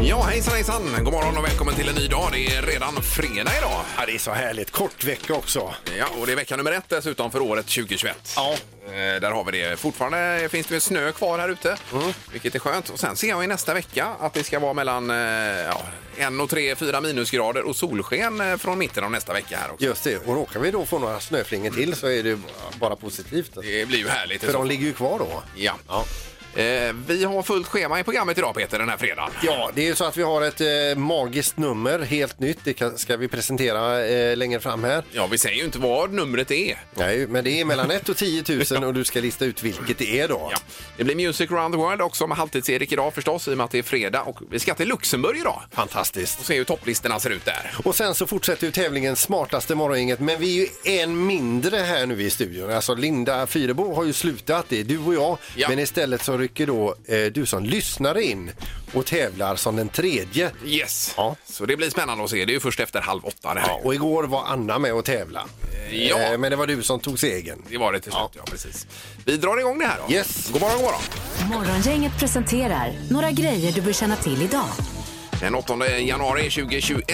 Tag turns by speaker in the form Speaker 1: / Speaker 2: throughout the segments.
Speaker 1: Ja, hejsan hejsan! God morgon och välkommen till en ny dag. Det är redan fredag idag.
Speaker 2: Ja, det är så härligt. Kort vecka också.
Speaker 1: Ja, och det är vecka nummer ett dessutom för året 2021.
Speaker 2: Ja.
Speaker 1: Eh, Där har vi det. Fortfarande finns det ju snö kvar här ute,
Speaker 2: Mm.
Speaker 1: vilket är skönt. Och sen ser jag i nästa vecka att det ska vara mellan eh, ja, 1 och 3, 4 minusgrader och solsken eh, från mitten av nästa vecka här också.
Speaker 2: Just det. Och råkar vi då få några snöflingor till så är det bara positivt.
Speaker 1: Det blir ju härligt. i
Speaker 2: För
Speaker 1: så
Speaker 2: de
Speaker 1: fall.
Speaker 2: ligger ju kvar då.
Speaker 1: Ja. Eh, Vi har fullt schema i programmet idag Peter, den här fredagen.
Speaker 2: Ja, det är ju så att vi har ett eh, magiskt nummer, helt nytt. Det kan, ska vi presentera eh, längre fram här.
Speaker 1: Ja, vi säger ju inte vad numret är.
Speaker 2: Nej, men det är mellan 1 och 10 000 och du ska lista ut vilket det är då.
Speaker 1: Ja. Det blir Music around the world också med Halvtids-Erik idag förstås i och med att det är fredag och vi ska till Luxemburg idag.
Speaker 2: Fantastiskt.
Speaker 1: Och se hur topplistorna ser ut där.
Speaker 2: Och sen så fortsätter ju tävlingen Smartaste morgongänget men vi är ju en mindre här nu i studion. Alltså Linda Fyrebo har ju slutat, det är du och jag.
Speaker 1: Ja.
Speaker 2: Men istället så rycker då eh, du som lyssnare in och tävlar som den tredje.
Speaker 1: Yes!
Speaker 2: Ja.
Speaker 1: Så det blir spännande att se. Det är ju först efter halv åtta det här.
Speaker 2: Ja, och igår var Anna med och tävla.
Speaker 1: Ja.
Speaker 2: Eh, men det var du som tog segern.
Speaker 1: Det var det till slut, ja. precis. Vi drar igång det här då.
Speaker 2: Yes.
Speaker 1: God morgon, god morgon.
Speaker 3: Morgongänget presenterar några grejer du bör känna till idag.
Speaker 1: Den 8 januari 2021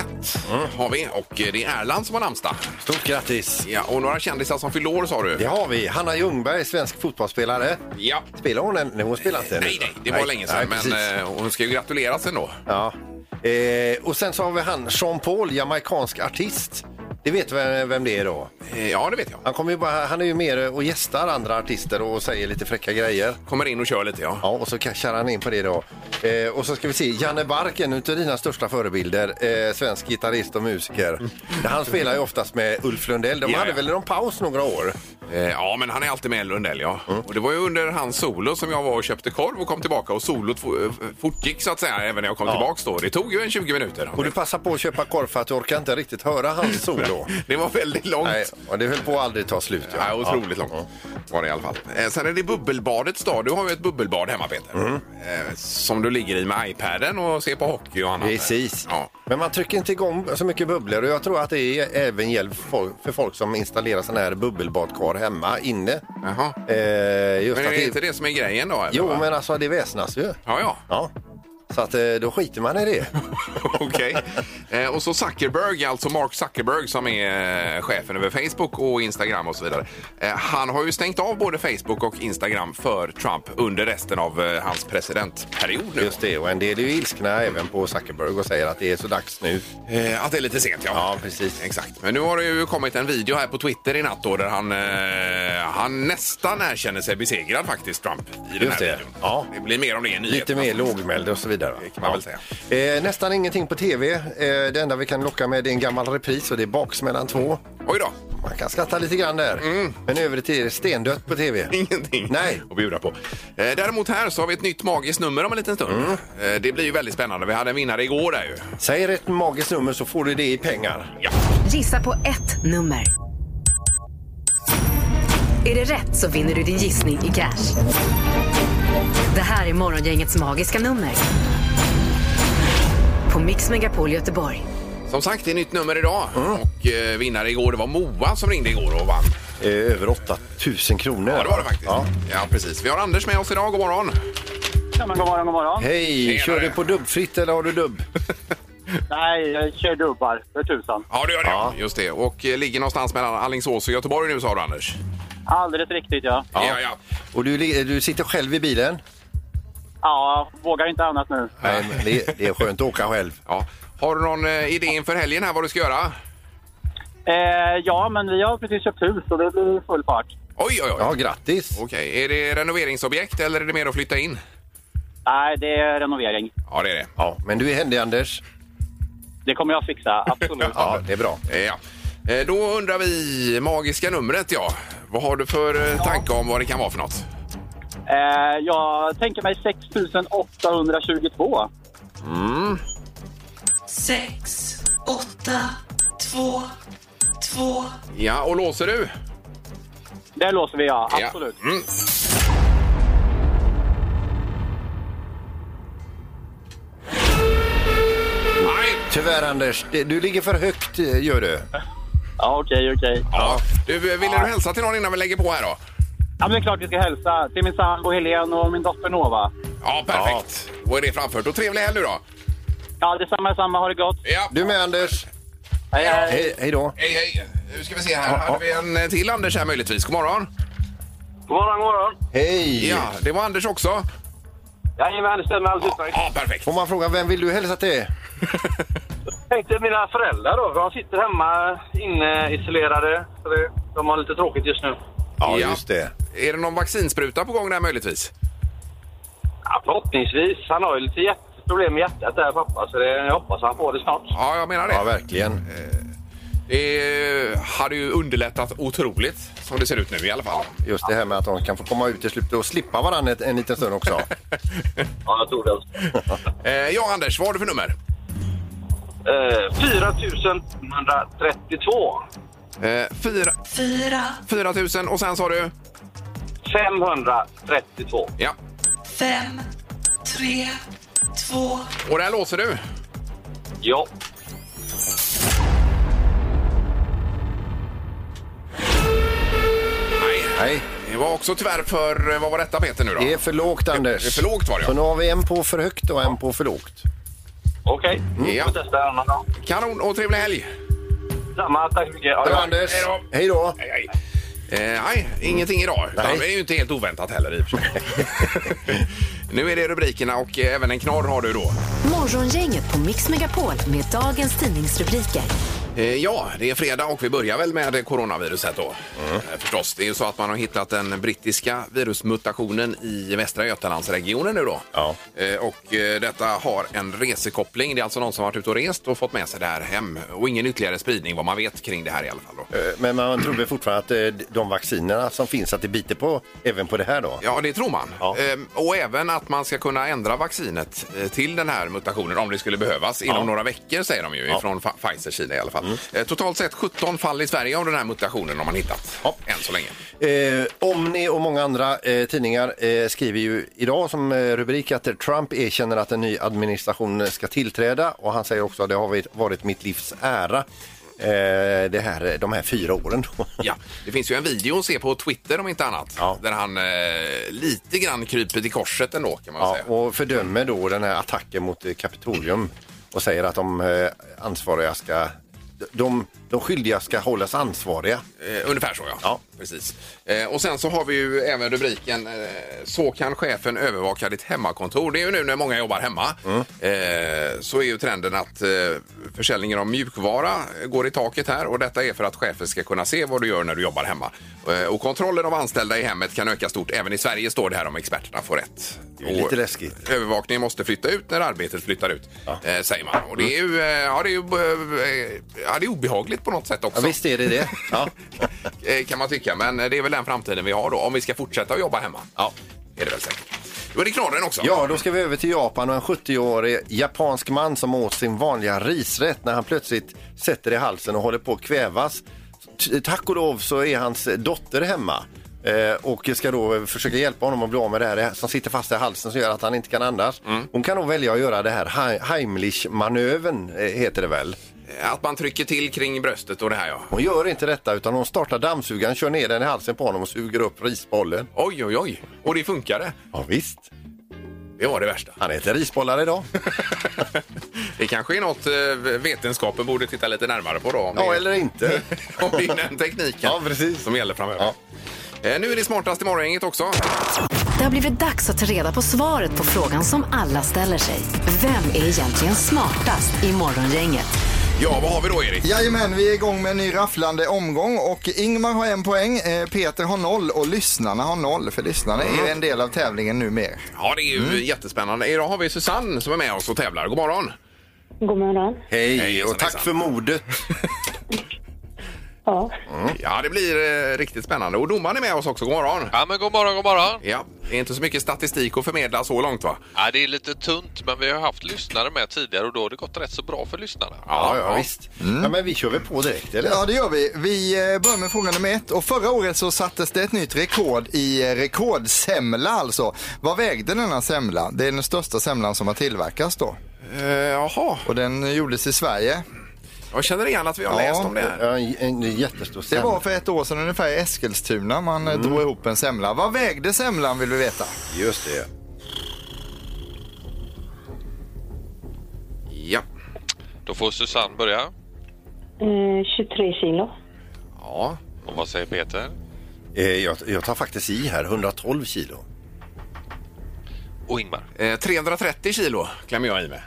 Speaker 2: Mm.
Speaker 1: har vi och det är Erland som har namnsdag.
Speaker 2: Stort grattis!
Speaker 1: Ja, och några kändisar som fyller år sa du.
Speaker 2: Det har vi. Hanna Ljungberg, svensk fotbollsspelare.
Speaker 1: Ja.
Speaker 2: Spelar hon än? Nej, hon spelar inte än.
Speaker 1: Nej, nej, det var länge
Speaker 2: nej,
Speaker 1: sedan.
Speaker 2: precis.
Speaker 1: men eh, hon ska ju gratuleras ändå.
Speaker 2: Ja. Eh, och sen så har vi han, Sean Paul, jamaicansk artist. Det vet vem, vem det är då?
Speaker 1: Eh, Ja, det vet jag.
Speaker 2: Han, kommer ju bara, han är ju med och gästar andra artister och säger lite fräcka grejer.
Speaker 1: Kommer in och kör lite, ja.
Speaker 2: Ja, och så cashar han in på det då. Eh, och så ska vi se, Janne Bark, en utav dina största förebilder, eh, svensk gitarrist och musiker. Han spelar ju oftast med Ulf Lundell. De
Speaker 1: Mm. Ja,
Speaker 2: hade
Speaker 1: ja.
Speaker 2: väl någon paus några år?
Speaker 1: Eh, Ja, men han är alltid med Lundell, ja.
Speaker 2: Mm.
Speaker 1: Och det var ju under hans solo som jag var och köpte korv och kom tillbaka och solot fo- eh, fortgick så att säga, även när jag kom tillbaks då. Det tog ju en 20 minuter.
Speaker 2: Och du passar på att köpa korv för att du orkar inte riktigt höra hans solo.
Speaker 1: Det var väldigt långt.
Speaker 2: Nej, och det höll på att aldrig ta slut. ja.
Speaker 1: Ja, otroligt långt var det i alla fall. Eh, Sen är det bubbelbadets dag. Du har ju ett bubbelbad hemma Peter.
Speaker 2: Mm.
Speaker 1: Eh, Som du ligger i med iPaden och ser på hockey och annat.
Speaker 2: Precis.
Speaker 1: Ja.
Speaker 2: Men man trycker inte igång så mycket bubblor och jag tror att det är även hjälp för för folk som installerar sådana här bubbelbadkar hemma inne.
Speaker 1: Jaha.
Speaker 2: Eh, just
Speaker 1: Men är
Speaker 2: att
Speaker 1: det
Speaker 2: det-
Speaker 1: inte det som är grejen då? eller
Speaker 2: Jo,
Speaker 1: vad?
Speaker 2: men alltså det väsnas ju.
Speaker 1: Ja, ja.
Speaker 2: Ja. Så att eh, då skiter man i det.
Speaker 1: Okej. Eh, Och så Zuckerberg, alltså Mark Zuckerberg som är eh, chefen över Facebook och Instagram och så vidare. Eh, Han har ju stängt av både Facebook och Instagram för Trump under resten av eh, hans presidentperiod nu.
Speaker 2: Just det, och en del är ju ilskna även på Zuckerberg och säger att det är så dags nu.
Speaker 1: Eh, Att det är lite sent, ja.
Speaker 2: Ja, precis.
Speaker 1: Exakt. Men nu har det ju kommit en video här på Twitter i natt då, där han, eh, han nästan erkänner sig besegrad faktiskt, Trump, i den
Speaker 2: Just
Speaker 1: här
Speaker 2: det.
Speaker 1: videon.
Speaker 2: Ja.
Speaker 1: Det blir mer om det i
Speaker 2: Lite
Speaker 1: nyheterna.
Speaker 2: mer lågmäld och så vidare. va?
Speaker 1: Det kan man väl
Speaker 2: Eh, nästan ingenting på tv. Eh, det enda vi kan locka med är en gammal repris och det är Baksmällan 2.
Speaker 1: Oj då,
Speaker 2: Man kan skratta lite grann där. Men i övrigt är det stendött på tv.
Speaker 1: Mm. ingenting
Speaker 2: Nej.
Speaker 1: att bjuda på. Eh, däremot här så har vi ett nytt magiskt nummer om en liten stund. Eh, det blir ju väldigt spännande. Vi hade en vinnare igår där ju.
Speaker 2: Säger ett magiskt nummer så får du det i pengar.
Speaker 1: Ja.
Speaker 3: Gissa på ett nummer. Är det rätt så vinner du din gissning i cash. Det här är Morgongängets magiska nummer. På Mix Megapol Göteborg.
Speaker 1: Som sagt, det är nytt nummer idag. Och eh, vinnare igår, det var Moa som ringde igår och vann.
Speaker 2: Eh, över 8 000 kronor.
Speaker 1: Ja, det var det faktiskt.
Speaker 2: Ja.
Speaker 1: ja precis. Vi har Anders med oss idag. God morgon.
Speaker 4: Ja, men god morgon, god morgon.
Speaker 2: Hej,
Speaker 1: Tjenare.
Speaker 2: kör du på dubbfritt eller har du dubb?
Speaker 4: Nej, jag kör dubbar för tusan.
Speaker 1: Ja, det gör det. Ja. Just det. Och eh, ligger någonstans mellan Alingsås och Göteborg nu, sa du, Anders.
Speaker 4: Alldeles riktigt, ja.
Speaker 1: ja, ja.
Speaker 2: Och du, li- du sitter själv i bilen?
Speaker 4: Ja, vågar inte annat nu.
Speaker 2: Nej, men det, det är skönt att åka själv.
Speaker 1: Ja. Har du någon eh, idé inför helgen här vad du ska göra?
Speaker 4: Eh, ja, men vi har precis köpt hus och det blir full fart.
Speaker 1: Oj, oj, oj.
Speaker 2: Ja, grattis!
Speaker 1: Okej, är det renoveringsobjekt eller är det mer att flytta in?
Speaker 4: Nej, det är renovering.
Speaker 1: Ja, det är det.
Speaker 2: Ja, men du är händig Anders.
Speaker 4: Det kommer jag fixa, absolut.
Speaker 2: Ja, det är bra.
Speaker 1: Eh, Ja. Eh, Då undrar vi, magiska numret ja. Vad har du för eh, tanke om vad det kan vara för något?
Speaker 4: Eh, jag tänker mig 6822.
Speaker 5: 6, 8, 2, 2.
Speaker 1: Ja, och låser du?
Speaker 4: Det låser vi, ja. Absolut.
Speaker 1: Ja. Mm. Nej,
Speaker 2: Tyvärr Anders, det- du ligger för högt eh, gör du.
Speaker 4: Ja, okej, okej.
Speaker 1: Ja. Du, eh, ville du hälsa till någon innan vi lägger på här då?
Speaker 4: Ja, men det är klart vi ska hälsa till min sambo Helene och min dotter Nova.
Speaker 1: Ja, perfekt. Då är det framfört. Och trevlig helg nu då.
Speaker 4: Ja, detsamma, detsamma. Ha det gott.
Speaker 1: Ja.
Speaker 2: Du med Anders.
Speaker 4: Hej, hej.
Speaker 2: Hej, hej då.
Speaker 1: Hej, hej. Nu ska vi se här.
Speaker 2: Ja,
Speaker 1: Hade vi en eh, till Anders här möjligtvis? God morgon.
Speaker 6: God morgon, god morgon.
Speaker 2: Hej.
Speaker 1: Ja, det var Anders också.
Speaker 6: Jajamän, det stämmer alldeles utmärkt.
Speaker 1: Ja, perfekt.
Speaker 2: Får man fråga vem vill du hälsa till?
Speaker 6: Tänkte mina föräldrar då, för de sitter hemma inne isolerade. Så det, de har lite tråkigt just nu.
Speaker 1: Ja.
Speaker 2: det.
Speaker 1: Är det någon vaccinspruta på gång där möjligtvis?
Speaker 6: Ja, förhoppningsvis. Han har ju lite hjärt- problem med hjärtat där pappa, så det, jag hoppas han får det snart.
Speaker 1: Ja, jag menar det.
Speaker 2: Ja, verkligen.
Speaker 1: Det eh, hade ju underlättat otroligt som det ser ut nu i alla fall.
Speaker 2: Just det här med att de kan få komma ut i slutet och slippa varandra en, en liten stund också.
Speaker 6: Ja, jag tror det.
Speaker 1: Eh, ja, Anders, vad har du för nummer?
Speaker 6: Eh, 4132.
Speaker 1: Eh, fyra,
Speaker 5: 4,
Speaker 1: 4 000 och sen sa du?
Speaker 6: 532.
Speaker 1: Ja.
Speaker 5: 5, 3, 2,
Speaker 1: Och där låser du?
Speaker 6: Ja.
Speaker 1: Nej.
Speaker 2: Nej,
Speaker 1: Det var också tyvärr för... eh, Vad var detta Peter nu då?
Speaker 2: det är för lågt Anders.
Speaker 1: Det är för lågt var det, ja.
Speaker 2: Så nu har vi en på för högt och en på för lågt.
Speaker 6: Okej.
Speaker 2: Mm.
Speaker 6: Vi
Speaker 1: Ja.
Speaker 6: får testa en annan dag.
Speaker 1: Kanon och trevlig helg!
Speaker 6: Samma, tack så mycket. Ja,
Speaker 2: Bra
Speaker 6: ja.
Speaker 2: Anders.
Speaker 1: Hej då.
Speaker 2: Hej då.
Speaker 1: Nej, nej. Eh, nej, ingenting idag. Utan
Speaker 2: Nej.
Speaker 1: Det är ju inte helt oväntat heller i och för sig. Nu är det rubrikerna och eh, även en knorr har du då.
Speaker 3: Morgongänget på Mix Megapol med dagens tidningsrubriker.
Speaker 1: Eh, Ja, det är fredag och vi börjar väl med coronaviruset då.
Speaker 2: Mm.
Speaker 1: Eh, Förstås. Det är ju så att man har hittat den brittiska virusmutationen i Västra Götalandsregionen nu då.
Speaker 2: Ja.
Speaker 1: Eh, Och eh, detta har en resekoppling. Det är alltså någon som har varit ute och rest och fått med sig det här hem. Och ingen ytterligare spridning vad man vet kring det här i alla fall då.
Speaker 2: Eh, Men man tror väl fortfarande att eh, de vaccinerna som finns, att det biter på även på det här då?
Speaker 1: Ja, det tror man.
Speaker 2: Ja.
Speaker 1: Ehm, Och även att man ska kunna ändra vaccinet eh, till den här mutationen om det skulle behövas inom några veckor säger de ju från Fa- Pfizer Kina i alla
Speaker 2: Mm.
Speaker 1: fall. Eh, Totalt sett 17 fall i Sverige av den här mutationen har man hittat
Speaker 2: Ja.
Speaker 1: än så länge.
Speaker 2: Eh, Omni och många andra eh, tidningar eh, skriver ju idag som eh, rubrik att eh, Trump erkänner att en ny administration eh, ska tillträda och han säger också att det har varit- varit mitt livs ära eh, det här, de här fyra åren.
Speaker 1: Ja, det finns ju en video att se på Twitter om inte annat
Speaker 2: Ja.
Speaker 1: där han eh, lite grann kryper till korset ändå kan man
Speaker 2: Ja,
Speaker 1: säga.
Speaker 2: och fördömer då den här attacken mot eh, Kapitolium och säger att de eh, ansvariga ska de, de skyldiga ska hållas ansvariga.
Speaker 1: Eh, ungefär så, ja.
Speaker 2: Ja.
Speaker 1: Precis. Eh, och sen så har vi ju även rubriken eh, Så kan chefen övervaka ditt hemmakontor. Det är ju nu när många jobbar hemma.
Speaker 2: Mm.
Speaker 1: Eh, så är ju trenden att eh, försäljningen av mjukvara går i taket här och detta är för att chefen ska kunna se vad du gör när du jobbar hemma. Eh, och kontrollen av anställda i hemmet kan öka stort. Även i Sverige står det här om experterna får rätt.
Speaker 2: är lite
Speaker 1: Och
Speaker 2: läskigt.
Speaker 1: Övervakningen måste flytta ut när arbetet flyttar ut, eh, säger man. Och det är ju, eh, ja, det är ju eh, ja, det är obehagligt på något sätt också.
Speaker 2: Ja, visst är det det. Ja.
Speaker 1: Eh, kan man tycka. Men det är väl den framtiden vi har då, om vi ska fortsätta att jobba hemma.
Speaker 2: Ja.
Speaker 1: Är det väl säkert. Då är det knorren också.
Speaker 2: Ja, då ska vi över till Japan och en 70-årig japansk man som åt sin vanliga risrätt när han plötsligt sätter i halsen och håller på att kvävas. T- Tack och lov så är hans dotter hemma eh, och ska då försöka hjälpa honom att bli av med det här som sitter fast i halsen som gör att han inte kan andas. Hon kan nog välja att göra det här Hei- Heimlich-manövern, eh, heter det väl.
Speaker 1: Eh, Att man trycker till kring bröstet och det här ja.
Speaker 2: Hon gör inte detta utan hon startar dammsugaren, kör ner den i halsen på honom och suger upp risbollen.
Speaker 1: Oj, oj, oj. Och det funkade.
Speaker 2: Ja, visst.
Speaker 1: Det var det värsta.
Speaker 2: Han äter risbollar idag.
Speaker 1: Det kanske är något eh, vetenskapen borde titta lite närmare på då. Om
Speaker 2: Ja,
Speaker 1: det,
Speaker 2: eller inte.
Speaker 1: om det är den tekniken
Speaker 2: Ja, precis.
Speaker 1: som gäller framöver. Eh, Nu är det smartast i morgongänget också.
Speaker 3: Det har blivit dags att ta reda på svaret på frågan som alla ställer sig. Vem är egentligen smartast i morgongänget?
Speaker 1: Ja, vad har vi då Erik?
Speaker 7: Jajamän, vi är igång med en ny rafflande omgång och Ingmar har en poäng, eh, Peter har noll och lyssnarna har noll för lyssnarna är ju en del av tävlingen nu mer.
Speaker 1: Ja, det är
Speaker 2: Mm.
Speaker 1: ju jättespännande. Idag har vi Susanne som är med oss och tävlar. God morgon!
Speaker 8: God morgon.
Speaker 2: Hej,
Speaker 1: Hejsan,
Speaker 2: och tack
Speaker 1: hejsan.
Speaker 2: för modet.
Speaker 8: Ja.
Speaker 1: Ja, det blir eh, riktigt spännande. Och domaren är med oss också. God morgon!
Speaker 9: Ja men god morgon, god morgon.
Speaker 1: Ja, det är inte så mycket statistik att förmedla så långt va?
Speaker 9: Ja, det är lite tunt men vi har haft lyssnare med tidigare och då har det gått rätt så bra för lyssnarna.
Speaker 2: Ja, ja, visst. Ja, men vi kör väl på direkt, eller?
Speaker 7: Ja det gör vi. Vi eh, börjar med fråga nummer ett och förra året så sattes det ett nytt rekord i eh, rekordsemla alltså. Vad vägde denna semla? Det är den största semlan som har tillverkats då.
Speaker 1: Eh, Jaha,
Speaker 7: Och den gjordes i Sverige.
Speaker 1: jag känner igen att vi har
Speaker 7: Ja.
Speaker 1: läst om det här.
Speaker 2: Ja, en, en jättestor
Speaker 7: Det var
Speaker 2: sämja.
Speaker 7: för ett år sedan ungefär i Eskilstuna man mm. drog ihop en semla. Vad vägde semlan vill vi veta?
Speaker 2: Just det.
Speaker 1: Ja.
Speaker 9: Då får Susanne börja.
Speaker 8: 23 Eh, kilo.
Speaker 1: ja.
Speaker 9: Och vad säger Peter?
Speaker 2: Eh, Jag, jag tar faktiskt i här, 112 kilo.
Speaker 9: Och Ingmar.
Speaker 1: Eh, 330 kilo klämmer jag i mig.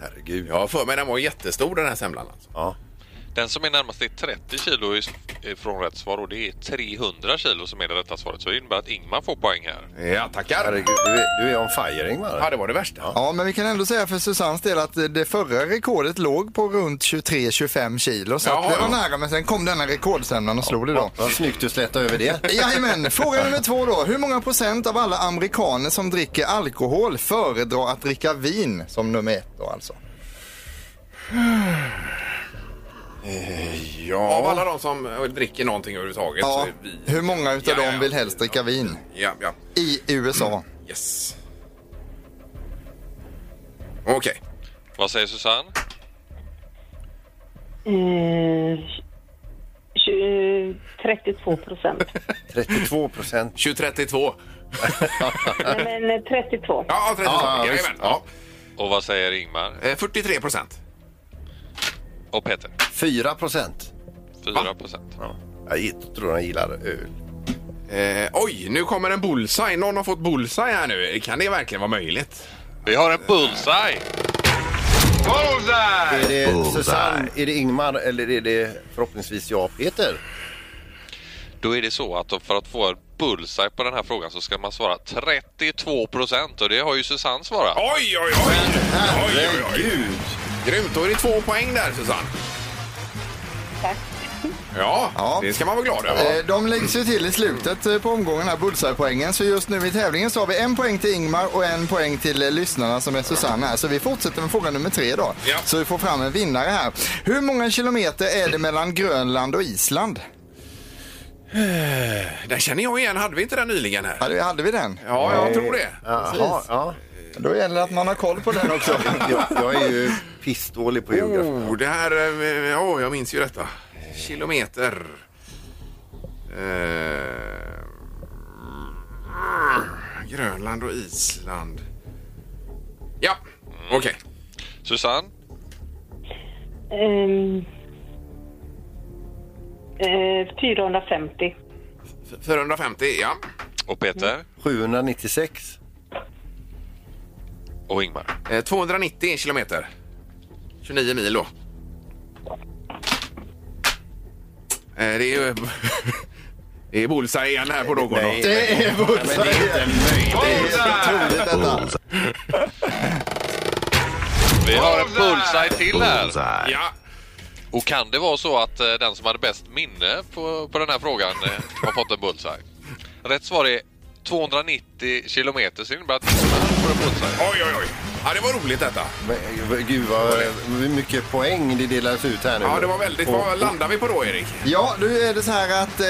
Speaker 2: Herregud.
Speaker 1: Jag har för mig den var jättestor den här semlan. Alltså.
Speaker 2: Ja.
Speaker 9: Den som är närmast är 30 kilo is- från rätt svar och det är 300 kilo som är det rätta svaret. Så det innebär att Ingmar får poäng här.
Speaker 1: Ja, tackar.
Speaker 2: Herregud, du är, du är on fire
Speaker 1: Ja,
Speaker 2: Ingmar.
Speaker 1: det var det värsta.
Speaker 7: Ja, men vi kan ändå säga för Susannes del att det förra rekordet låg på runt 23-25 kilo. Så
Speaker 1: Jaha,
Speaker 7: att det var
Speaker 1: ja.
Speaker 7: nära, men sen kom denna rekordsämlan och slog det då.
Speaker 2: Vad snyggt du slätade över det.
Speaker 7: Jajamän, fråga nummer två då. Hur många procent av alla amerikaner som dricker alkohol föredrar att dricka vin som nummer ett då alltså?
Speaker 1: Ja. Av alla de som eh, dricker någonting överhuvudtaget så
Speaker 7: Ja,
Speaker 1: är vi...
Speaker 7: hur många utav
Speaker 1: Ja, ja,
Speaker 7: dem vill
Speaker 1: ja.
Speaker 7: helst dricka vin?
Speaker 1: Ja, ja.
Speaker 7: I USA.
Speaker 1: Yes. Okej.
Speaker 9: Vad säger Susanne?
Speaker 8: Eh, tju- 32 procent.
Speaker 2: 32 procent.
Speaker 1: 2032.
Speaker 8: Nej, men eh, 32.
Speaker 1: Ja, 32.
Speaker 2: Ja,
Speaker 1: Ja,
Speaker 2: ja, visst.
Speaker 1: jajamän. ja.
Speaker 9: Och vad säger Ingmar?
Speaker 1: Eh, 43 procent.
Speaker 9: Och Peter?
Speaker 2: 4 procent.
Speaker 9: 4 procent.
Speaker 2: Jag gitt- tror han gillar öl.
Speaker 1: Eh, oj, nu kommer en bullseye. Någon har fått bullseye här nu. Kan det verkligen vara möjligt?
Speaker 9: Vi har en bullseye!
Speaker 1: Bullseye!
Speaker 2: Är det Susanne, är det Ingmar eller är det förhoppningsvis jag Peter?
Speaker 9: Då är det så att för att få en bullseye på den här frågan så ska man svara 32 procent och det har ju Susanne svarat.
Speaker 1: Oj, oj, oj! oj, oj, oj. Grymt, då är det två poäng där Susanne.
Speaker 8: Tack.
Speaker 1: Ja,
Speaker 7: Ja.
Speaker 1: det ska man vara glad över.
Speaker 7: Eh, De läggs ju till i slutet eh, på omgången här, bullseye-poängen. Så just nu i tävlingen så har vi en poäng till Ingmar och en poäng till eh, lyssnarna som är Susanne här. Så vi fortsätter med fråga nummer tre då.
Speaker 1: Ja.
Speaker 7: Så vi får fram en vinnare här. Hur många kilometer är det mellan Grönland och Island?
Speaker 1: Den känner jag igen, hade vi inte den nyligen här?
Speaker 7: Hade, hade vi den?
Speaker 1: Ja, jag tror det.
Speaker 2: Jaha, ja.
Speaker 7: Då gäller det att man har koll på den också.
Speaker 2: jag, jag är ju pissdålig på geografi.
Speaker 9: Mm.
Speaker 1: Oh, det här... eh, Ja, jag minns ju detta. Kilometer. Eh, Grönland och Island. Ja, okej.
Speaker 9: Susanne?
Speaker 8: Ehm, eh, 450.
Speaker 1: F- 450, ja.
Speaker 9: Och Peter?
Speaker 2: 796.
Speaker 9: Och Ingmar?
Speaker 1: Eh, 290 kilometer. 29 mil då. Eh, Eh, det är ju... Det är bullseye igen här på någon.
Speaker 2: Nej.
Speaker 7: Det är bullseye! Otroligt detta.
Speaker 9: Vi har en bullseye till här!
Speaker 1: Ja,
Speaker 9: Och kan det vara så att eh, den som hade bäst minne på, på den här frågan eh, har fått en bullseye? Rätt svar är 290 kilometer, så det innebär att Ingmar får en bullseye.
Speaker 1: oj, oj, oj. Ja, det var roligt detta.
Speaker 2: Men, eh, Gud vad hur mycket poäng det delades ut här nu.
Speaker 1: Ja, det var väldigt... Vad landar vi på då, Erik?
Speaker 7: Ja, nu är det så här att eh,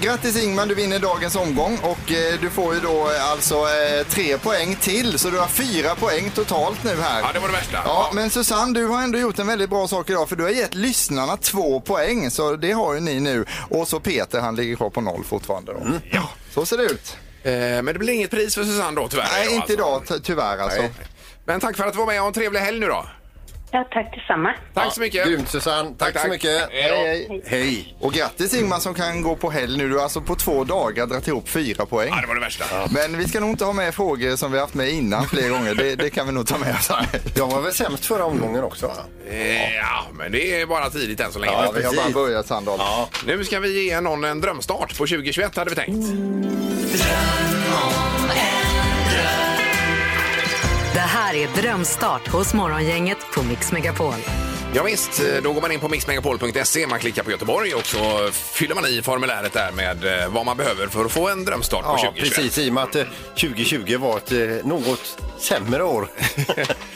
Speaker 7: grattis Ingmar, du vinner dagens omgång och eh, du får ju då eh, alltså eh, tre poäng till så du har fyra poäng totalt nu här.
Speaker 1: Ja, det var det värsta.
Speaker 7: Ja, men Susanne, du har ändå gjort en väldigt bra sak idag för du har gett lyssnarna två poäng, så det har ju ni nu. Och så Peter, han ligger kvar på noll fortfarande då.
Speaker 1: Mm.
Speaker 7: Ja. Så ser det ut.
Speaker 1: Eh, men det blir inget pris för Susanne då, tyvärr.
Speaker 7: Nej,
Speaker 1: Då,
Speaker 7: inte
Speaker 1: alltså.
Speaker 7: idag ty- tyvärr alltså.
Speaker 1: Nej. Men tack för att du var med och en trevlig helg nu då.
Speaker 8: Ja, tack detsamma.
Speaker 1: Tack så mycket.
Speaker 2: Grymt Susanne, tack,
Speaker 1: Tack,
Speaker 2: så
Speaker 1: tack.
Speaker 2: mycket.
Speaker 1: Hej då.
Speaker 2: hej. Hej.
Speaker 7: Eh, Och grattis Ingmar som kan gå på helg nu. Du har alltså på två dagar dragit ihop fyra poäng.
Speaker 1: Ja, det var det värsta.
Speaker 7: Men vi ska nog inte ha med frågor som vi haft med innan fler gånger. Det, det kan vi nog ta med oss. Här.
Speaker 2: Jag var väl sämst förra omgången också? va?
Speaker 1: Eh, ja, men det är bara tidigt än så länge.
Speaker 2: Ja,
Speaker 7: Vi har bara
Speaker 2: precis.
Speaker 7: börjat Sandahl.
Speaker 1: Nu ska vi ge någon en drömstart på 2021 hade vi tänkt.
Speaker 3: Det här är Drömstart hos Morgongänget på Mix Megapol.
Speaker 1: Ja, visst, eh, då går man in på mixmegapol.se, man klickar på Göteborg och så fyller man i formuläret där med eh, vad man behöver för att få en drömstart på
Speaker 2: Ja,
Speaker 1: 2021.
Speaker 2: precis. I och med att eh, 2020 var ett eh, något sämre år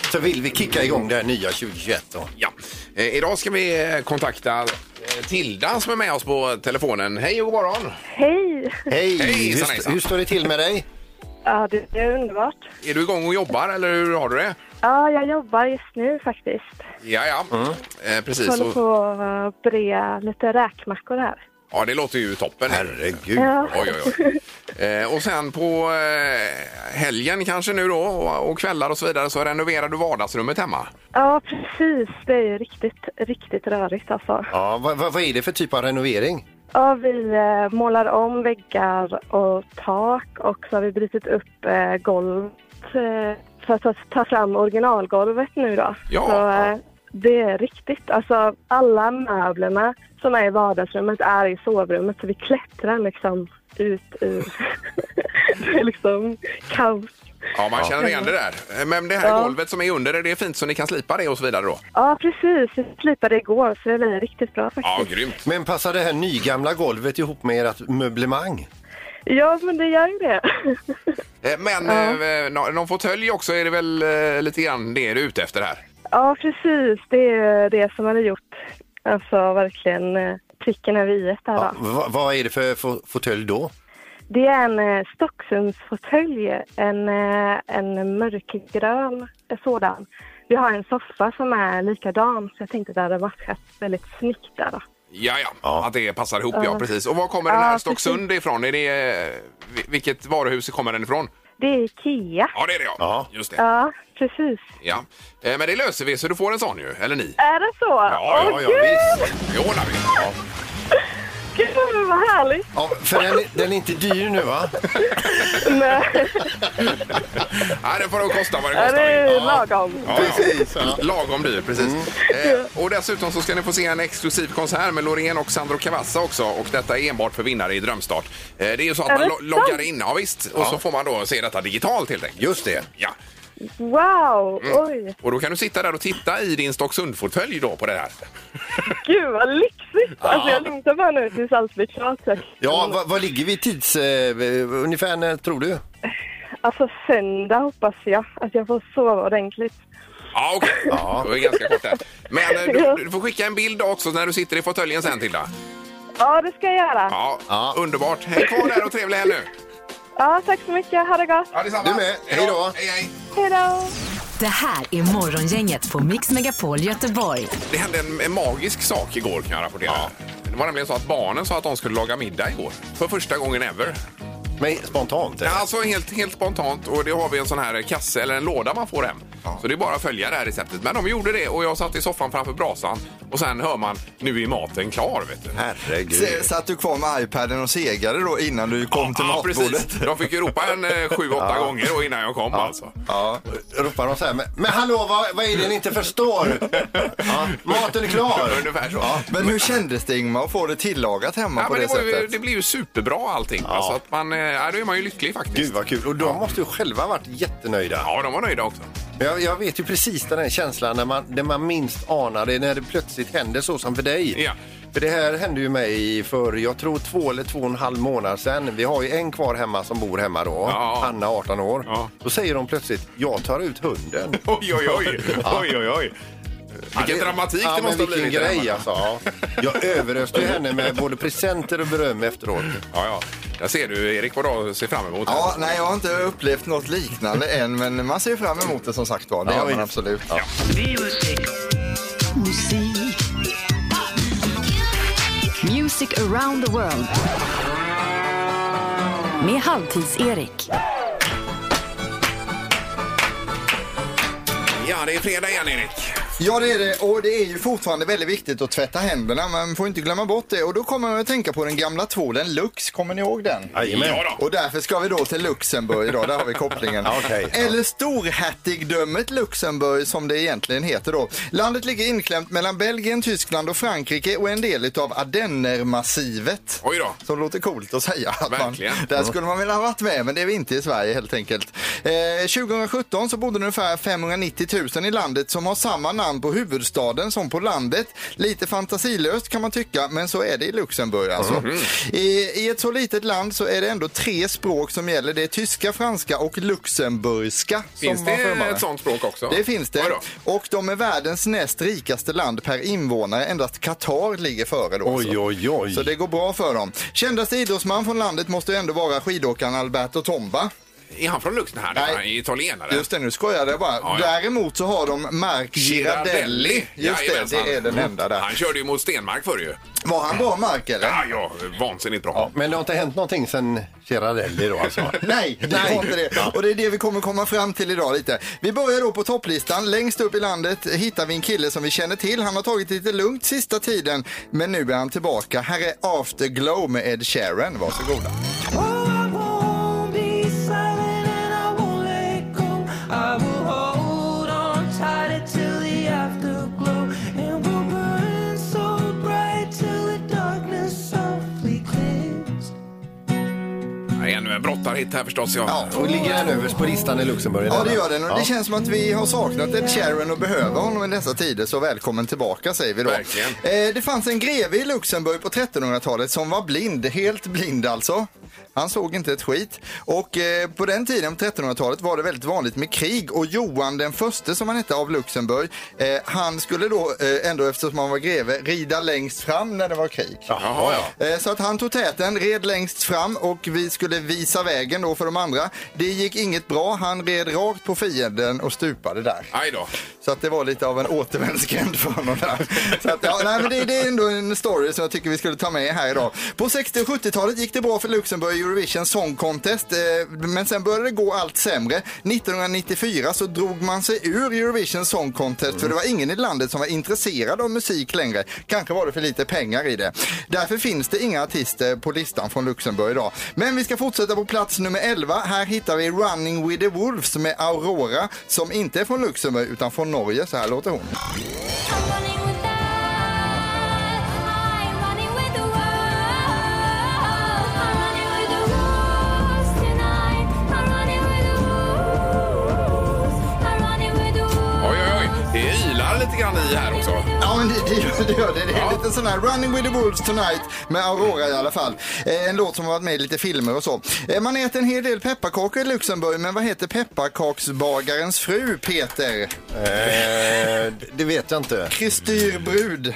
Speaker 2: så vill vi kicka igång det här nya 2021. Då.
Speaker 1: Ja. Eh, idag ska vi eh, kontakta eh, Tilda som är med oss på telefonen. Hej och god morgon!
Speaker 8: Hej!
Speaker 2: Hej! hur,
Speaker 1: hejsan,
Speaker 2: st-
Speaker 1: hejsan.
Speaker 2: hur står det till med dig?
Speaker 8: Ja, det är underbart.
Speaker 1: Är du igång och jobbar eller hur har du det?
Speaker 8: Ja, jag jobbar just nu faktiskt.
Speaker 1: Ja, ja. Eh, precis.
Speaker 8: Mm. Håller
Speaker 1: Och,
Speaker 8: på att brea lite räkmackor här.
Speaker 1: ja, det låter ju toppen.
Speaker 2: Herregud.
Speaker 8: Ja.
Speaker 1: Oj, oj, oj. Eh, och sen på eh, helgen kanske nu då och, och kvällar och så vidare så renoverar du vardagsrummet hemma.
Speaker 8: Ja, precis. Det är ju riktigt, riktigt rörigt alltså.
Speaker 2: Ja, vad, vad, vad är det för typ av renovering?
Speaker 8: Ja, vi eh, målar om väggar och tak och så har vi brutit upp eh, golvet eh, för att ta- ta fram originalgolvet nu då.
Speaker 1: Ja.
Speaker 8: så, eh, det är riktigt. Alltså alla möblerna som är i vardagsrummet är i sovrummet så vi klättrar liksom ut ur det är liksom kaos.
Speaker 1: Ja, man känner igen det där. Eh, Men det här
Speaker 8: Ja.
Speaker 1: golvet som är under, är det fint så ni kan slipa det och så vidare då?
Speaker 8: Ja, precis. Vi slipade igår så det blir riktigt bra faktiskt.
Speaker 1: Ja, grymt.
Speaker 2: Men passar det här nygamla golvet ihop med ert möblemang?
Speaker 8: Ja, men det gör ju det.
Speaker 1: Eh, Men eh, nå- någon fåtölj också är det väl eh, lite grann det du är ute efter här?
Speaker 8: ja, precis. Det är ju det som hade gjort alltså verkligen eh, pricken över i där.
Speaker 2: Ja,
Speaker 8: va.
Speaker 2: vad, vad är det för fo- fåtölj då?
Speaker 8: Det är en eh, Stocksundsfåtölj, en, eh, en mörkgrön sådan. Vi har en soffa som är likadan så jag tänkte att det hade matchat väldigt snyggt där. Då.
Speaker 1: Ja, ja, att det passar ihop, ja
Speaker 8: Ja.
Speaker 1: precis. Och var kommer
Speaker 8: Ja,
Speaker 1: den här
Speaker 8: precis.
Speaker 1: Stocksund ifrån? Är det, eh, vi- vilket varuhus kommer den ifrån?
Speaker 8: Det är Ikea.
Speaker 1: Ja, det är det ja.
Speaker 2: Ja.
Speaker 1: Just det.
Speaker 8: Ja, precis.
Speaker 1: Ja. Eh, Men det löser vi så du får en sån ju, eller ni.
Speaker 8: Är det så?
Speaker 1: Ja,
Speaker 8: Åh,
Speaker 1: ja,
Speaker 8: gud,
Speaker 2: visst.
Speaker 1: Det ordnar vi. Ja.
Speaker 8: gud, vad härligt!
Speaker 2: Ja, för den, är- den är inte dyr nu va?
Speaker 8: Nej,
Speaker 1: Nej, det får nog kosta vad det
Speaker 8: det
Speaker 1: kostar.
Speaker 8: är
Speaker 1: Ja.
Speaker 8: lagom.
Speaker 1: Ja, precis. Lagom dyr, precis. Eh, och dessutom så ska ni få se en exklusiv konsert med Loreen och Sandro Cavazza också. Och detta är enbart för vinnare i Drömstart. Eh, det är ju så att
Speaker 8: Är
Speaker 1: man
Speaker 8: det
Speaker 1: lo-
Speaker 8: sant?
Speaker 1: loggar in, ja, visst. Och så får man då se detta digitalt helt enkelt. Just det. Ja.
Speaker 8: Wow,
Speaker 1: Mm.
Speaker 8: oj,
Speaker 1: Och då kan du sitta där och titta i din Stocksundfåtölj då på det här.
Speaker 8: gud vad lyxigt! Alltså jag längtar bara nu tills allt blir klart. så jag-
Speaker 2: Ja, vad, vad ligger vi tids... Eh, ungefär när tror du?
Speaker 8: Alltså söndag hoppas jag att jag får sova ordentligt.
Speaker 1: Ja, okej. Ja. Det var ju ganska kort där. Men eh, du, du får skicka en bild också när du sitter i fåtöljen sen, Tilda.
Speaker 8: Ja, det ska jag göra.
Speaker 1: Ja,
Speaker 2: Ja.
Speaker 1: underbart. Häng kvar där och trevlig helg nu.
Speaker 8: Ja, tack så mycket. Ha det gott.
Speaker 1: Ja, detsamma.
Speaker 2: Du med. Hej då.
Speaker 1: Hej, hej.
Speaker 8: Hej då!
Speaker 3: Det här är Morgongänget på Mix Megapol Göteborg.
Speaker 1: Det hände en, en magisk sak igår kan jag rapportera. Det var nämligen så att barnen sa att de skulle laga middag igår. För första gången ever.
Speaker 2: Men spontant?
Speaker 1: Ja,
Speaker 2: eller?
Speaker 1: alltså helt, helt spontant och det har vi en sån här kasse eller en låda man får hem. Så det är bara att följa det här receptet. Men de gjorde det och jag satt i soffan framför brasan och sen hör man nu är maten klar vet du.
Speaker 7: S-
Speaker 2: Herregud.
Speaker 7: Satt du kvar med iPaden och segade då innan du kom till
Speaker 1: Ja,
Speaker 7: matbordet?
Speaker 1: precis. De fick ju ropa en eh, sju, åtta gånger då innan jag kom alltså.
Speaker 7: Ja.
Speaker 2: Ropar de så här, men, men hallå, vad, vad är det ni inte förstår? Ja, maten är klar.
Speaker 1: Ungefär så.
Speaker 7: Ja, men hur kändes det Ingmar att få det tillagat hemma
Speaker 1: Ja,
Speaker 7: på
Speaker 1: men
Speaker 7: det,
Speaker 1: det, var ju,
Speaker 7: sättet?
Speaker 1: det blir ju superbra allting. va? Så att man, eh, ja, då är man ju lycklig faktiskt.
Speaker 2: Gud vad kul. Och de måste ju själva varit jättenöjda.
Speaker 1: Ja, de var nöjda också.
Speaker 2: Men Jag, jag vet ju precis den här känslan när man, när man minst anar det, när det plötsligt händer så som för dig.
Speaker 1: Ja.
Speaker 2: För det här hände ju mig för, jag tror två eller två och en halv månad sedan. Vi har ju en kvar hemma som bor hemma då,
Speaker 1: Ja.
Speaker 2: Hanna 18 år.
Speaker 1: Ja.
Speaker 2: Då säger de plötsligt, jag tar ut hunden.
Speaker 1: Oj, oj, oj. oj, oj, oj. Vilken dramatik
Speaker 2: ja,
Speaker 1: det
Speaker 2: men
Speaker 1: måste ha
Speaker 2: vilken
Speaker 1: blivit. där
Speaker 2: grej
Speaker 1: hemma.
Speaker 2: alltså. Ja. Jag överöste ju henne med både presenter och beröm efteråt.
Speaker 1: Ja, ja. Där ser du, Erik, vad du ser fram emot.
Speaker 7: Ja, nej, jag har inte upplevt något liknande än, men man ser ju fram emot det som sagt var. Det
Speaker 2: Ja,
Speaker 7: gör man
Speaker 2: visst.
Speaker 7: absolut.
Speaker 3: Music around the world. Med Halvtids-Erik.
Speaker 1: ja, det är fredag igen, Erik.
Speaker 7: Ja, det är det. Och det är ju fortfarande väldigt viktigt att tvätta händerna. Man får inte glömma bort det. Och då kommer jag att tänka på den gamla tvålen Lux. Kommer ni ihåg den?
Speaker 2: Jajamän.
Speaker 1: Ja då.
Speaker 7: Och därför ska vi då till Luxemburg idag. Där har vi kopplingen.
Speaker 2: Okej.
Speaker 7: Eller storhertigdömet Luxemburg som det egentligen heter då. Landet ligger inklämt mellan Belgien, Tyskland och Frankrike och en del utav Ardennermassivet.
Speaker 1: Oj då.
Speaker 7: Som låter coolt att säga. Att man,
Speaker 1: Verkligen.
Speaker 7: där skulle man vilja ha varit med, men det är vi inte i Sverige helt enkelt. Eh, 2017 så bodde det ungefär 590 000 i landet som har samma namn på huvudstaden som på landet. Lite fantasilöst kan man tycka, men så är det i Luxemburg alltså.
Speaker 1: Mhm.
Speaker 7: I, I ett så litet land så är det ändå tre språk som gäller. Det är tyska, franska och luxemburgska.
Speaker 1: Finns
Speaker 7: som man får
Speaker 1: det
Speaker 7: med.
Speaker 1: ett sånt språk också?
Speaker 7: Det finns
Speaker 1: Oj
Speaker 7: det.
Speaker 1: då.
Speaker 7: Och de är världens näst rikaste land per invånare. Endast Qatar ligger före då. alltså.
Speaker 2: Oj, oj, oj.
Speaker 7: Så det går bra för dem. Kändaste idrottsman från landet måste ju ändå vara skidåkaren Alberto Tomba.
Speaker 1: Är han från Luxemburg?
Speaker 7: Nej.
Speaker 1: Han är italienare.
Speaker 7: Just det, nu skojar jag bara.
Speaker 1: Ja, ja.
Speaker 7: Däremot så har de Mark Girardelli. Just det,
Speaker 1: Jajamensan.
Speaker 7: det är den enda där.
Speaker 1: Han körde ju mot Stenmark förr ju.
Speaker 7: Var han bra Mark eller?
Speaker 1: Ja, ja, vansinnigt bra.
Speaker 2: Men det har inte hänt någonting sen Gerardelli då alltså?
Speaker 7: Nej, det var inte det. Och det är det vi kommer komma fram till idag lite. Vi börjar då på topplistan. Längst upp i landet hittar vi en kille som vi känner till. Han har tagit lite lugnt sista tiden, men nu är han tillbaka. Här är Afterglow med Ed Sheeran. Varsågoda.
Speaker 1: Ja, Ännu en brottarhit här förstås. Ja.
Speaker 7: Ja.
Speaker 2: Och ligger den överst på listan i Luxemburg?
Speaker 7: Ja,
Speaker 2: denna?
Speaker 7: det gör den. Och
Speaker 2: Ja.
Speaker 7: det känns som att vi har saknat Ed Sheeran och behöver honom i dessa tider. Så välkommen tillbaka säger vi då.
Speaker 1: Verkligen.
Speaker 7: Eh, det fanns en greve i Luxemburg på 1300-talet som var blind. Helt blind alltså. Han såg inte ett skit. Och eh, på den tiden, på 1300-talet, var det väldigt vanligt med krig. Och Johan den förste, som han hette, av Luxemburg, eh, han skulle då, eh, ändå eftersom han var greve, rida längst fram när det var krig.
Speaker 1: Jaha, ja.
Speaker 7: Eh, Så att han tog täten, red längst fram och vi skulle visa vägen då för de andra. Det gick inget bra, han red rakt på fienden och stupade där.
Speaker 1: Aj då.
Speaker 7: Så att det var lite av en återvändsgränd för honom där. Så att, ja, nej, men det, det är ändå en story som jag tycker vi skulle ta med här idag. På 60 och 70-talet gick det bra för Luxemburg i Eurovision Song Contest. eh, Men sen började det gå allt sämre. 1994 så drog man sig ur Eurovision Song Contest för det var ingen i landet som var intresserad av musik längre. Kanske var det för lite pengar i det. Därför finns det inga artister på listan från Luxemburg idag. Men vi ska fortsätta på plats nummer 11. Här hittar vi Running with the Wolves med Aurora som inte är från Luxemburg utan från Norge. Så här låter hon.
Speaker 1: Oj, oj, oj. Det ylar lite grann i här också.
Speaker 7: Ja, men det, det, gör- det gör det. Det är lite sån här Running with the Wolves Tonight med Aurora i alla fall. Eh, en låt som har varit med i lite filmer och så. Eh, man äter en hel del pepparkakor i Luxemburg, men vad heter pepparkaksbagarens fru, Peter?
Speaker 2: Eh, det vet jag inte.
Speaker 7: Kristyrbrud.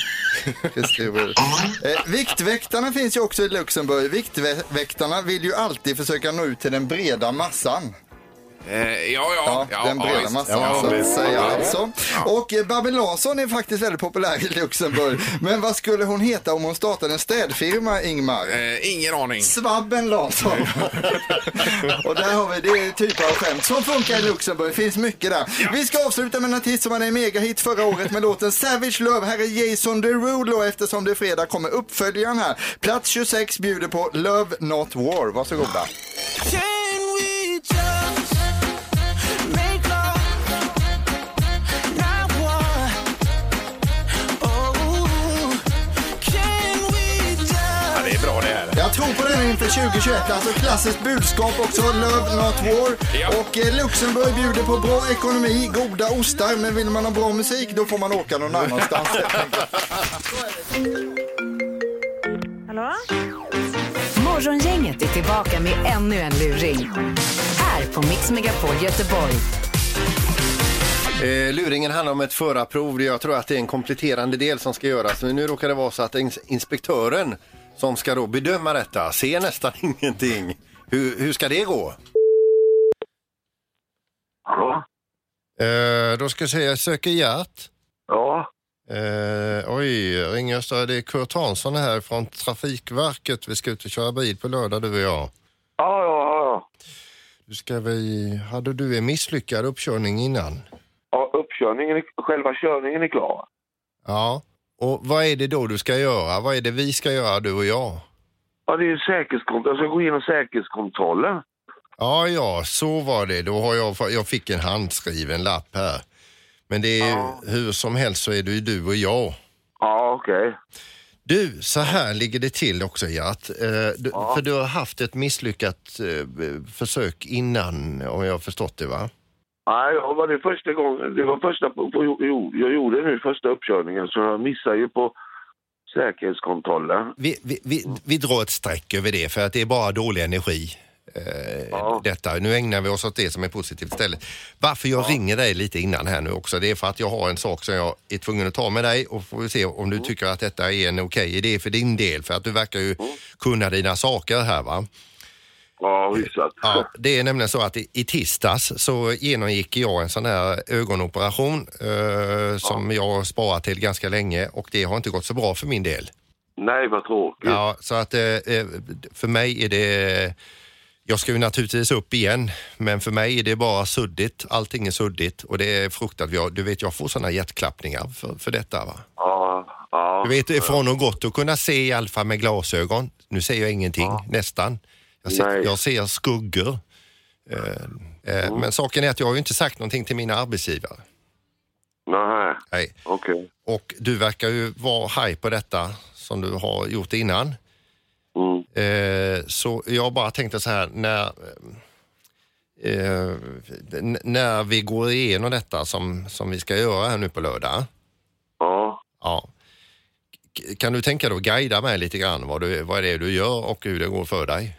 Speaker 7: Kristyrbrud. Eh, viktväktarna finns ju också i Luxemburg. Viktväktarna vill ju alltid försöka nå ut till den breda massan.
Speaker 1: Eh, ja, ja.
Speaker 7: Ja, den breda
Speaker 1: visst.
Speaker 7: massan
Speaker 1: Ja,
Speaker 7: så att
Speaker 1: visst.
Speaker 7: säga.
Speaker 1: Ja.
Speaker 7: Alltså. Och eh, Babben Larsson är faktiskt väldigt populär i Luxemburg. Men vad skulle hon heta om hon startade en städfirma, Ingmar?
Speaker 1: Eh, ingen aning.
Speaker 7: Svabben Larsson. och där har vi det typ av skämt som funkar i Luxemburg. finns mycket där. Vi ska avsluta med en artist som hade en megahit förra året med låten Savage Love. Här är Jason Derulo eftersom det är fredag kommer uppföljaren här. Plats 26 bjuder på Love Not War. Varsågoda.
Speaker 1: Ja, det är bra det här.
Speaker 7: Jag tror på den inför 2021. Alltså klassiskt budskap också, Love Not War.
Speaker 1: Ja.
Speaker 7: Och eh, Luxemburg bjuder på bra ekonomi, goda ostar. Men vill man ha bra musik då får man åka någon annanstans.
Speaker 8: Hallå?
Speaker 3: Morgongänget är tillbaka med ännu en luring. Här på Mix Megapol Göteborg.
Speaker 2: Eh, luringen handlar om ett förarprov. Jag tror att det är en kompletterande del som ska göras. Men nu råkar det vara så att ins- inspektören som ska då bedöma detta ser nästan ingenting. Hur, hur ska det gå?
Speaker 6: Hallå?
Speaker 10: Eh, då ska jag säga, jag söker hjärt.
Speaker 6: Ja,
Speaker 10: Eh, oj, ring Östra, det är Kurt Hansson här från Trafikverket. Vi ska ut och köra bil på lördag du och jag.
Speaker 6: ja, ja. ja.
Speaker 10: Du ska vi... Hade du en misslyckad uppkörning innan?
Speaker 6: Ja, uppkörningen, är- själva körningen är klar.
Speaker 10: Ja. Och vad är det då du ska göra? Vad är det vi ska göra du och jag?
Speaker 6: Ja, det är ju säkerhetskontroll. Jag ska gå igenom säkerhetskontrollen.
Speaker 10: Ja, ja, så var det. Då har jag, jag fick en handskriven lapp här. Men det är hur som helst så är det ju du och jag.
Speaker 6: Ja, okej.
Speaker 10: Du, så här ligger det till också Gert. Eh, du, För du har haft ett misslyckat eh, b- försök innan om jag har förstått det va?
Speaker 6: Nej, det var det första gången. Det var första på, på, jo, jag gjorde nu första uppkörningen så jag missade ju på säkerhetskontrollen.
Speaker 10: Vi, vi, vi, vi drar ett streck över det för att det är bara dålig energi. Eh, Detta. Nu ägnar vi oss åt det som är positivt istället. Varför jag ringer dig lite innan här nu också, det är för att jag har en sak som jag är tvungen att ta med dig och får vi se om du tycker att detta är en okej idé för din del. För att du verkar ju kunna dina saker här va.
Speaker 6: Ja, hyfsat.
Speaker 2: Ja, det är nämligen så att i, i tisdags så genomgick jag en sån här ögonoperation eh, som jag har sparat till ganska länge och det har inte gått så bra för min del.
Speaker 6: Nej, vad tråkigt.
Speaker 2: Ja, så att eh, eh, för mig är det... Jag ska ju naturligtvis upp igen, men för mig är det bara suddigt. Allting är suddigt och det är fruktat. Jag, du vet, jag får såna hjärtklappningar för, för detta. Va?
Speaker 6: Ja, ja.
Speaker 2: Du vet, det är från och gott att kunna se i alla fall med glasögon. Nu ser jag ingenting, nästan. Jag ser,
Speaker 6: Nej. Mm.
Speaker 2: jag ser skuggor. Eh, eh, Men saken är att jag har ju inte sagt någonting till mina arbetsgivare.
Speaker 6: Nej.
Speaker 2: Nej.
Speaker 6: Okej.
Speaker 2: Och du verkar ju vara haj på detta som du har gjort innan.
Speaker 6: Mm.
Speaker 2: Eh, så jag bara tänkte så här när, eh, n- när vi går igenom detta som, som vi ska göra här nu på lördag.
Speaker 6: Ja.
Speaker 2: ja. K- Kan du tänka dig att guida mig lite grann vad, du, vad är det du gör och hur det går för dig?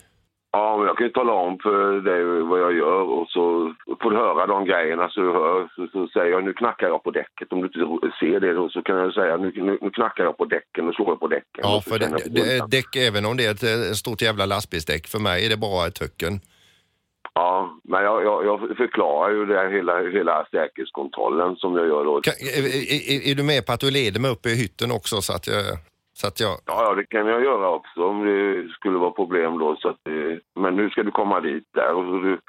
Speaker 6: Ja, men jag kan ju tala om för dig vad jag gör och så får du höra de grejerna så du hör. Så, så säger jag nu knackar jag på däcket. Om du inte ser det då så kan jag säga nu, nu, nu knackar jag på däcken och slår jag på däcken.
Speaker 2: Ja,
Speaker 6: Och så
Speaker 2: för det,
Speaker 6: känner jag på
Speaker 2: det,
Speaker 6: pulsen.
Speaker 2: däck, även om det är ett eh, stort jävla lastbilsdäck, för mig är det bara ett töcken.
Speaker 6: Ja, men jag, jag, jag förklarar ju det här hela, hela säkerhetskontrollen som jag gör då.
Speaker 2: Kan, är, är, är du med på att du leder mig upp i hytten också så att jag... Så att jag
Speaker 6: Ja, ja, det kan jag göra också om det skulle vara problem då. Så att, eh, men nu ska du komma dit där och så du,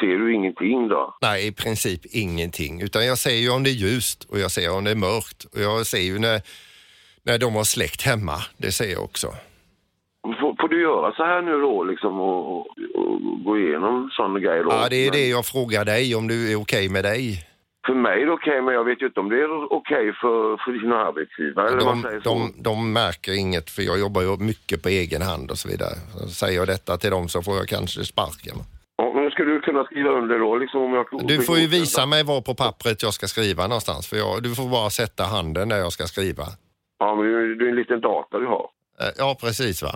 Speaker 6: ser du ingenting då?
Speaker 2: nej, i princip ingenting. Utan jag ser ju om det är ljust och jag ser om det är mörkt. Och jag ser ju när, när de har släkt hemma. Det ser jag också.
Speaker 6: Får, får du göra så här nu då liksom och, och, och gå igenom sådana grejer då?
Speaker 2: Ja, det är
Speaker 6: Men
Speaker 2: det jag frågar dig, om du är okej med dig.
Speaker 6: För mig är det okej, men jag vet ju inte om det är okej för, för dina arbetsgivare. eller vad man
Speaker 2: De,
Speaker 6: säger så.
Speaker 2: de, de märker inget, för jag jobbar ju mycket på egen hand och så vidare. Så säger jag detta till dem så får jag kanske sparken.
Speaker 6: Ja, men ska du kunna skriva under då liksom om jag...
Speaker 2: Du får ju visa mig var på pappret jag ska skriva någonstans. För jag, du får bara sätta handen där jag ska skriva.
Speaker 6: Ja, men det är- det är en liten data du har.
Speaker 2: Eh, Ja, precis va?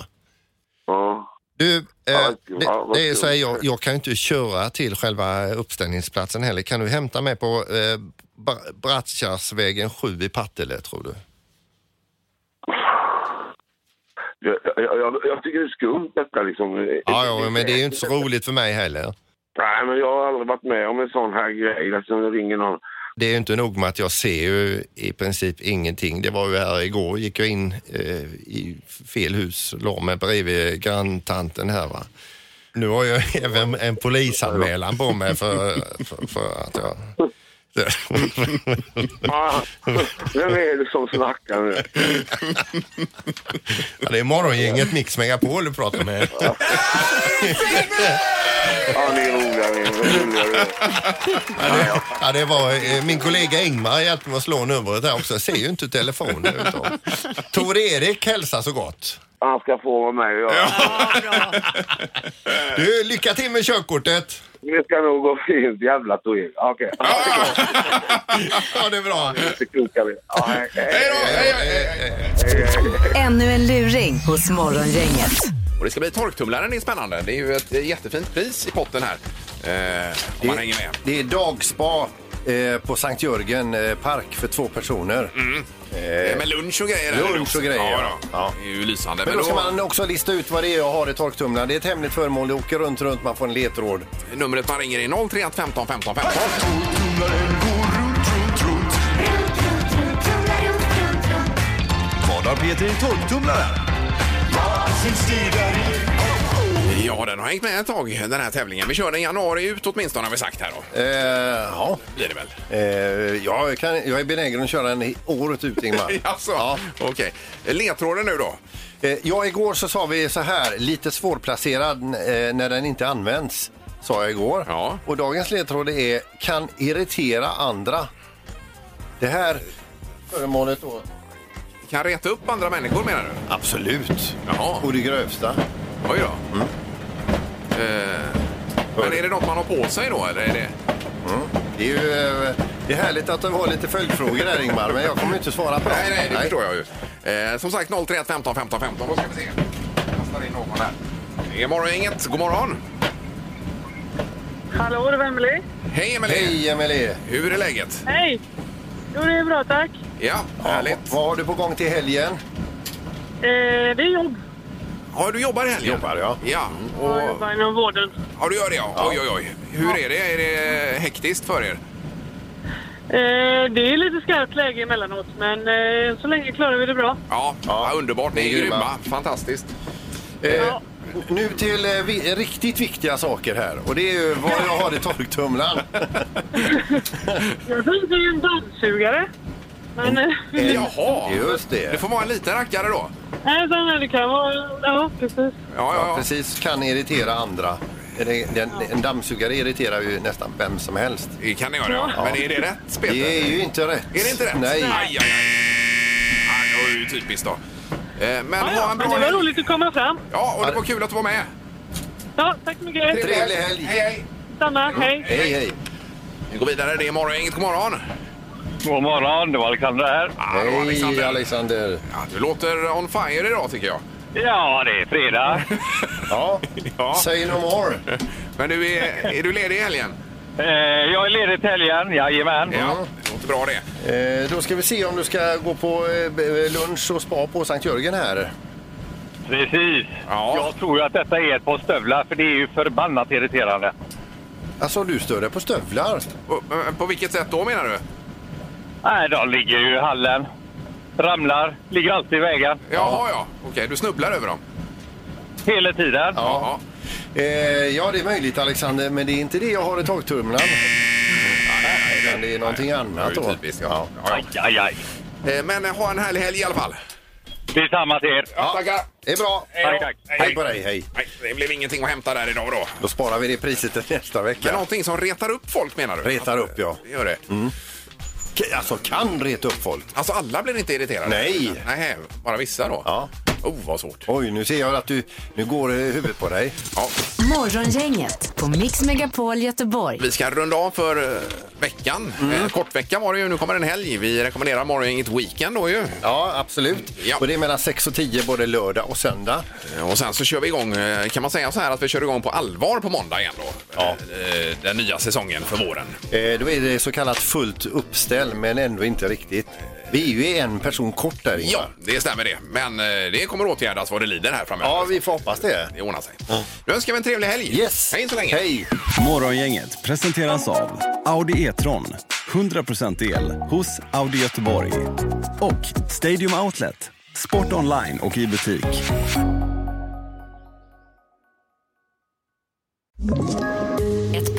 Speaker 6: Ja.
Speaker 2: Du, eh,
Speaker 6: ja,
Speaker 2: det,
Speaker 6: vad
Speaker 2: det är så här,
Speaker 6: kul.
Speaker 2: jag, jag kan ju inte köra till själva uppställningsplatsen heller. Kan du hämta mig på eh, Bra- Brattkärrsvägen 7 i Partille, tror du?
Speaker 6: Jag, jag, jag, jag tycker det är skumt detta liksom.
Speaker 2: Ja, ja, men det är ju inte så roligt för mig heller.
Speaker 6: Nej, men jag har aldrig varit med om en sån här grej. Liksom, jag ringer någon.
Speaker 2: Det är ju inte nog med att jag ser ju i princip ingenting. Det var ju här igår, gick jag in eh, i fel hus, la mig bredvid granntanten här va. Nu har jag även en polisanmälan på mig för, för, för att jag...
Speaker 6: Ah, vem är liksom det som snackar nu?
Speaker 2: Ja, det är morgongänget Mix Megapol du pratar med.
Speaker 6: Ja, ni är roliga, ni är roliga.
Speaker 2: Ja, det, ja, det var, eh, min kollega Ingmar hjälpte mig att slå numret där också. Jag ser ju inte telefonen. utan- Tore Erik hälsar så gott.
Speaker 6: Han ska få vara med och göra.
Speaker 2: Du, lycka till med körkortet.
Speaker 6: Det ska nog gå fint. Jävla Tore. Okej.
Speaker 2: Ja, det är bra.
Speaker 6: Det kokar vi. Ja, hej, hej.
Speaker 3: Ännu en luring hos Morgongänget.
Speaker 1: Och det ska bli torktumlaren, det är spännande. Det är ju ett jättefint pris i potten här. Eh, om man hänger med.
Speaker 11: Det är dagspa eh, på Sankt Jörgen eh, park för två personer.
Speaker 1: Eh, med lunch och grejer. är det
Speaker 11: lunch och
Speaker 1: också.
Speaker 11: grejer,
Speaker 1: Ja, då. Det är ju lysande.
Speaker 11: Men då ska man också lista ut vad det är jag har i torktumlaren. Det är ett hemligt föremål, det åker runt, runt, man får en ledtråd.
Speaker 1: Numret man ringer är 031 15 15 15.
Speaker 7: Vad har Peter i torktumlaren?
Speaker 1: Ja, den har hängt med ett tag, den här tävlingen. Vi kör den januari ut åtminstone, har vi sagt här då.
Speaker 11: Eh, ja.
Speaker 1: Blir det väl?
Speaker 11: Eh, jag, kan, jag är benägen att köra den i- året ut, Ingmar.
Speaker 1: Jaså? Alltså, Okej. Ledtråden nu då?
Speaker 11: Eh, ja, igår så sa vi så här, lite svårplacerad eh, när den inte används, sa jag igår. Och dagens ledtråd är kan irritera andra. Det här föremålet då?
Speaker 1: Kan reta upp andra människor menar du?
Speaker 11: Absolut.
Speaker 1: Jaha.
Speaker 11: Och det grövsta.
Speaker 1: Oj då.
Speaker 11: Mm.
Speaker 1: Eh, men är det något man har på sig då eller? Är det...
Speaker 11: Det är ju eh, det är härligt att du har lite följdfrågor där Ingmar, men jag kommer ju inte svara på dem.
Speaker 1: Nej, nej, det förstår jag ju. Eh, som sagt 031 15 15 15. Då ska vi se. Kastar in någon här. Det är Morgongänget. God morgon!
Speaker 4: Hallå, det var Emelie.
Speaker 1: Hej Emelie!
Speaker 11: Hej Emelie!
Speaker 1: Hur är läget?
Speaker 4: Hej! Jo, det är bra, tack.
Speaker 1: Ja, härligt.
Speaker 11: Vad har du på gång till helgen?
Speaker 4: Eh, det är jobb.
Speaker 1: Ja, du jobbar i helgen? Jobbar, ja. Ja,
Speaker 12: Jag
Speaker 1: och,
Speaker 12: jobbar inom vården.
Speaker 1: ja du gör det ja. Oj, oj, oj. Hur är det? Är det hektiskt för er?
Speaker 12: Eh, det är lite skarpt läge emellanåt, men eh, så länge klarar vi det bra.
Speaker 1: Ja, ja. underbart. Ni är grymma. Fantastiskt.
Speaker 2: Eh, nu till eh, vi, riktigt viktiga saker här och det är ju vad jag har i torktumlaren.
Speaker 12: Jag tänkte ju en dammsugare. Men... eh,
Speaker 1: Jaha!
Speaker 2: Just det.
Speaker 1: Det får vara en liten rackare då.
Speaker 12: Nej, sån här det kan vara. Ja, precis.
Speaker 1: Ja,
Speaker 2: precis. Kan irritera andra. Den, den, en dammsugare irriterar ju nästan vem som helst.
Speaker 1: Det kan det göra, ja. Men är det rätt, Peter?
Speaker 2: Det är ju inte rätt.
Speaker 1: Är det inte rätt?
Speaker 2: Nej.
Speaker 1: Aj, aj, aj. Aj, det var ju typiskt då. Eh, Men
Speaker 12: Ja,
Speaker 1: ha
Speaker 12: ja,
Speaker 1: en
Speaker 12: men
Speaker 1: bra
Speaker 12: det var
Speaker 1: helg.
Speaker 12: roligt att komma fram.
Speaker 1: Ja, och det var kul att du var med.
Speaker 12: Ja, tack så mycket.
Speaker 1: Trevlig helg. Hej, hej.
Speaker 12: Samma,
Speaker 13: Mm.
Speaker 12: hej.
Speaker 2: Hej, hej.
Speaker 1: Vi går vidare. Det är Morgongänget. God morgon!
Speaker 13: God morgon, det var Alexander här.
Speaker 1: Hej, Alexander.
Speaker 2: Alexander.
Speaker 1: Ja, du låter on fire idag tycker jag.
Speaker 13: Ja, det är fredag.
Speaker 2: ja.
Speaker 1: ja.
Speaker 2: Say no more.
Speaker 1: Men du är, är du ledig i helgen?
Speaker 13: Eh, jag är ledig till helgen, jajamän.
Speaker 2: Mm.
Speaker 1: Ja, det låter bra det.
Speaker 2: Eh, då ska vi se om du ska gå på eh, b- lunch och spa på Sankt Jörgen här.
Speaker 13: Precis. Jag tror ju att detta är ett par stövlar, för det är ju förbannat irriterande.
Speaker 2: Alltså du stör dig på stövlar?
Speaker 1: På, på vilket sätt då menar du?
Speaker 13: Nej, de ligger ju i hallen. Ramlar, ligger alltid i vägen.
Speaker 1: Jaha, ja. Okej, du snubblar över dem?
Speaker 13: Hela tiden.
Speaker 1: Ja.
Speaker 2: Eh, ja, det är möjligt Alexander, men det är inte det jag har i torktumlaren. Utan det är någonting annat
Speaker 1: Det var
Speaker 2: då.
Speaker 1: ju typiskt, ja.
Speaker 13: Aj, aj, aj.
Speaker 1: Eh, Men eh, ha en härlig helg i alla fall.
Speaker 13: Detsamma till er.
Speaker 1: Ja, tackar.
Speaker 2: Det är bra.
Speaker 1: Hej då.
Speaker 13: Tack,
Speaker 2: Hej på dig, hej.
Speaker 1: Nej, det blev ingenting att hämta där idag då.
Speaker 2: Då sparar vi det priset till nästa
Speaker 1: Men
Speaker 2: vecka.
Speaker 1: någonting som retar upp folk menar du?
Speaker 2: Retar upp ja.
Speaker 1: Gör det.
Speaker 2: Mm. K- Alltså kan reta upp folk.
Speaker 1: Alltså alla blir inte irriterade?
Speaker 2: Nej.
Speaker 1: Nej, bara vissa då?
Speaker 2: Ja.
Speaker 1: Oh, vad svårt.
Speaker 2: Oj, nu ser jag att du... Nu går eh, huvudet på dig.
Speaker 1: Ja.
Speaker 3: Morgongänget på Mix Megapol Göteborg.
Speaker 1: Vi ska runda av för eh, veckan.
Speaker 2: Mm.
Speaker 1: Eh, kortvecka var det ju. Nu kommer en helg. Vi rekommenderar morgongänget Weekend då ju.
Speaker 2: Ja, absolut. Och det är mellan 6 och 10 både lördag och söndag.
Speaker 1: Eh, Och sen så kör vi igång, eh, kan man säga så här att vi kör igång på allvar på måndag igen då? Eh, Den nya säsongen för våren.
Speaker 2: Eh, Då är det så kallat fullt uppställ, men ändå inte riktigt. Vi är ju en person kort där Ingmar.
Speaker 1: Ja, det stämmer det. Men eh, det kommer åtgärdas vad det lider här framöver.
Speaker 2: Ja, vi får hoppas det.
Speaker 1: Det ordnar sig. Nu önskar vi en trevlig helg.
Speaker 2: Yes.
Speaker 1: Hej så länge.
Speaker 2: Hej.
Speaker 14: Morgongänget presenteras av Audi E-tron. 100% el hos Audi Göteborg. Och Stadium Outlet. Sport online och i butik.
Speaker 15: Ett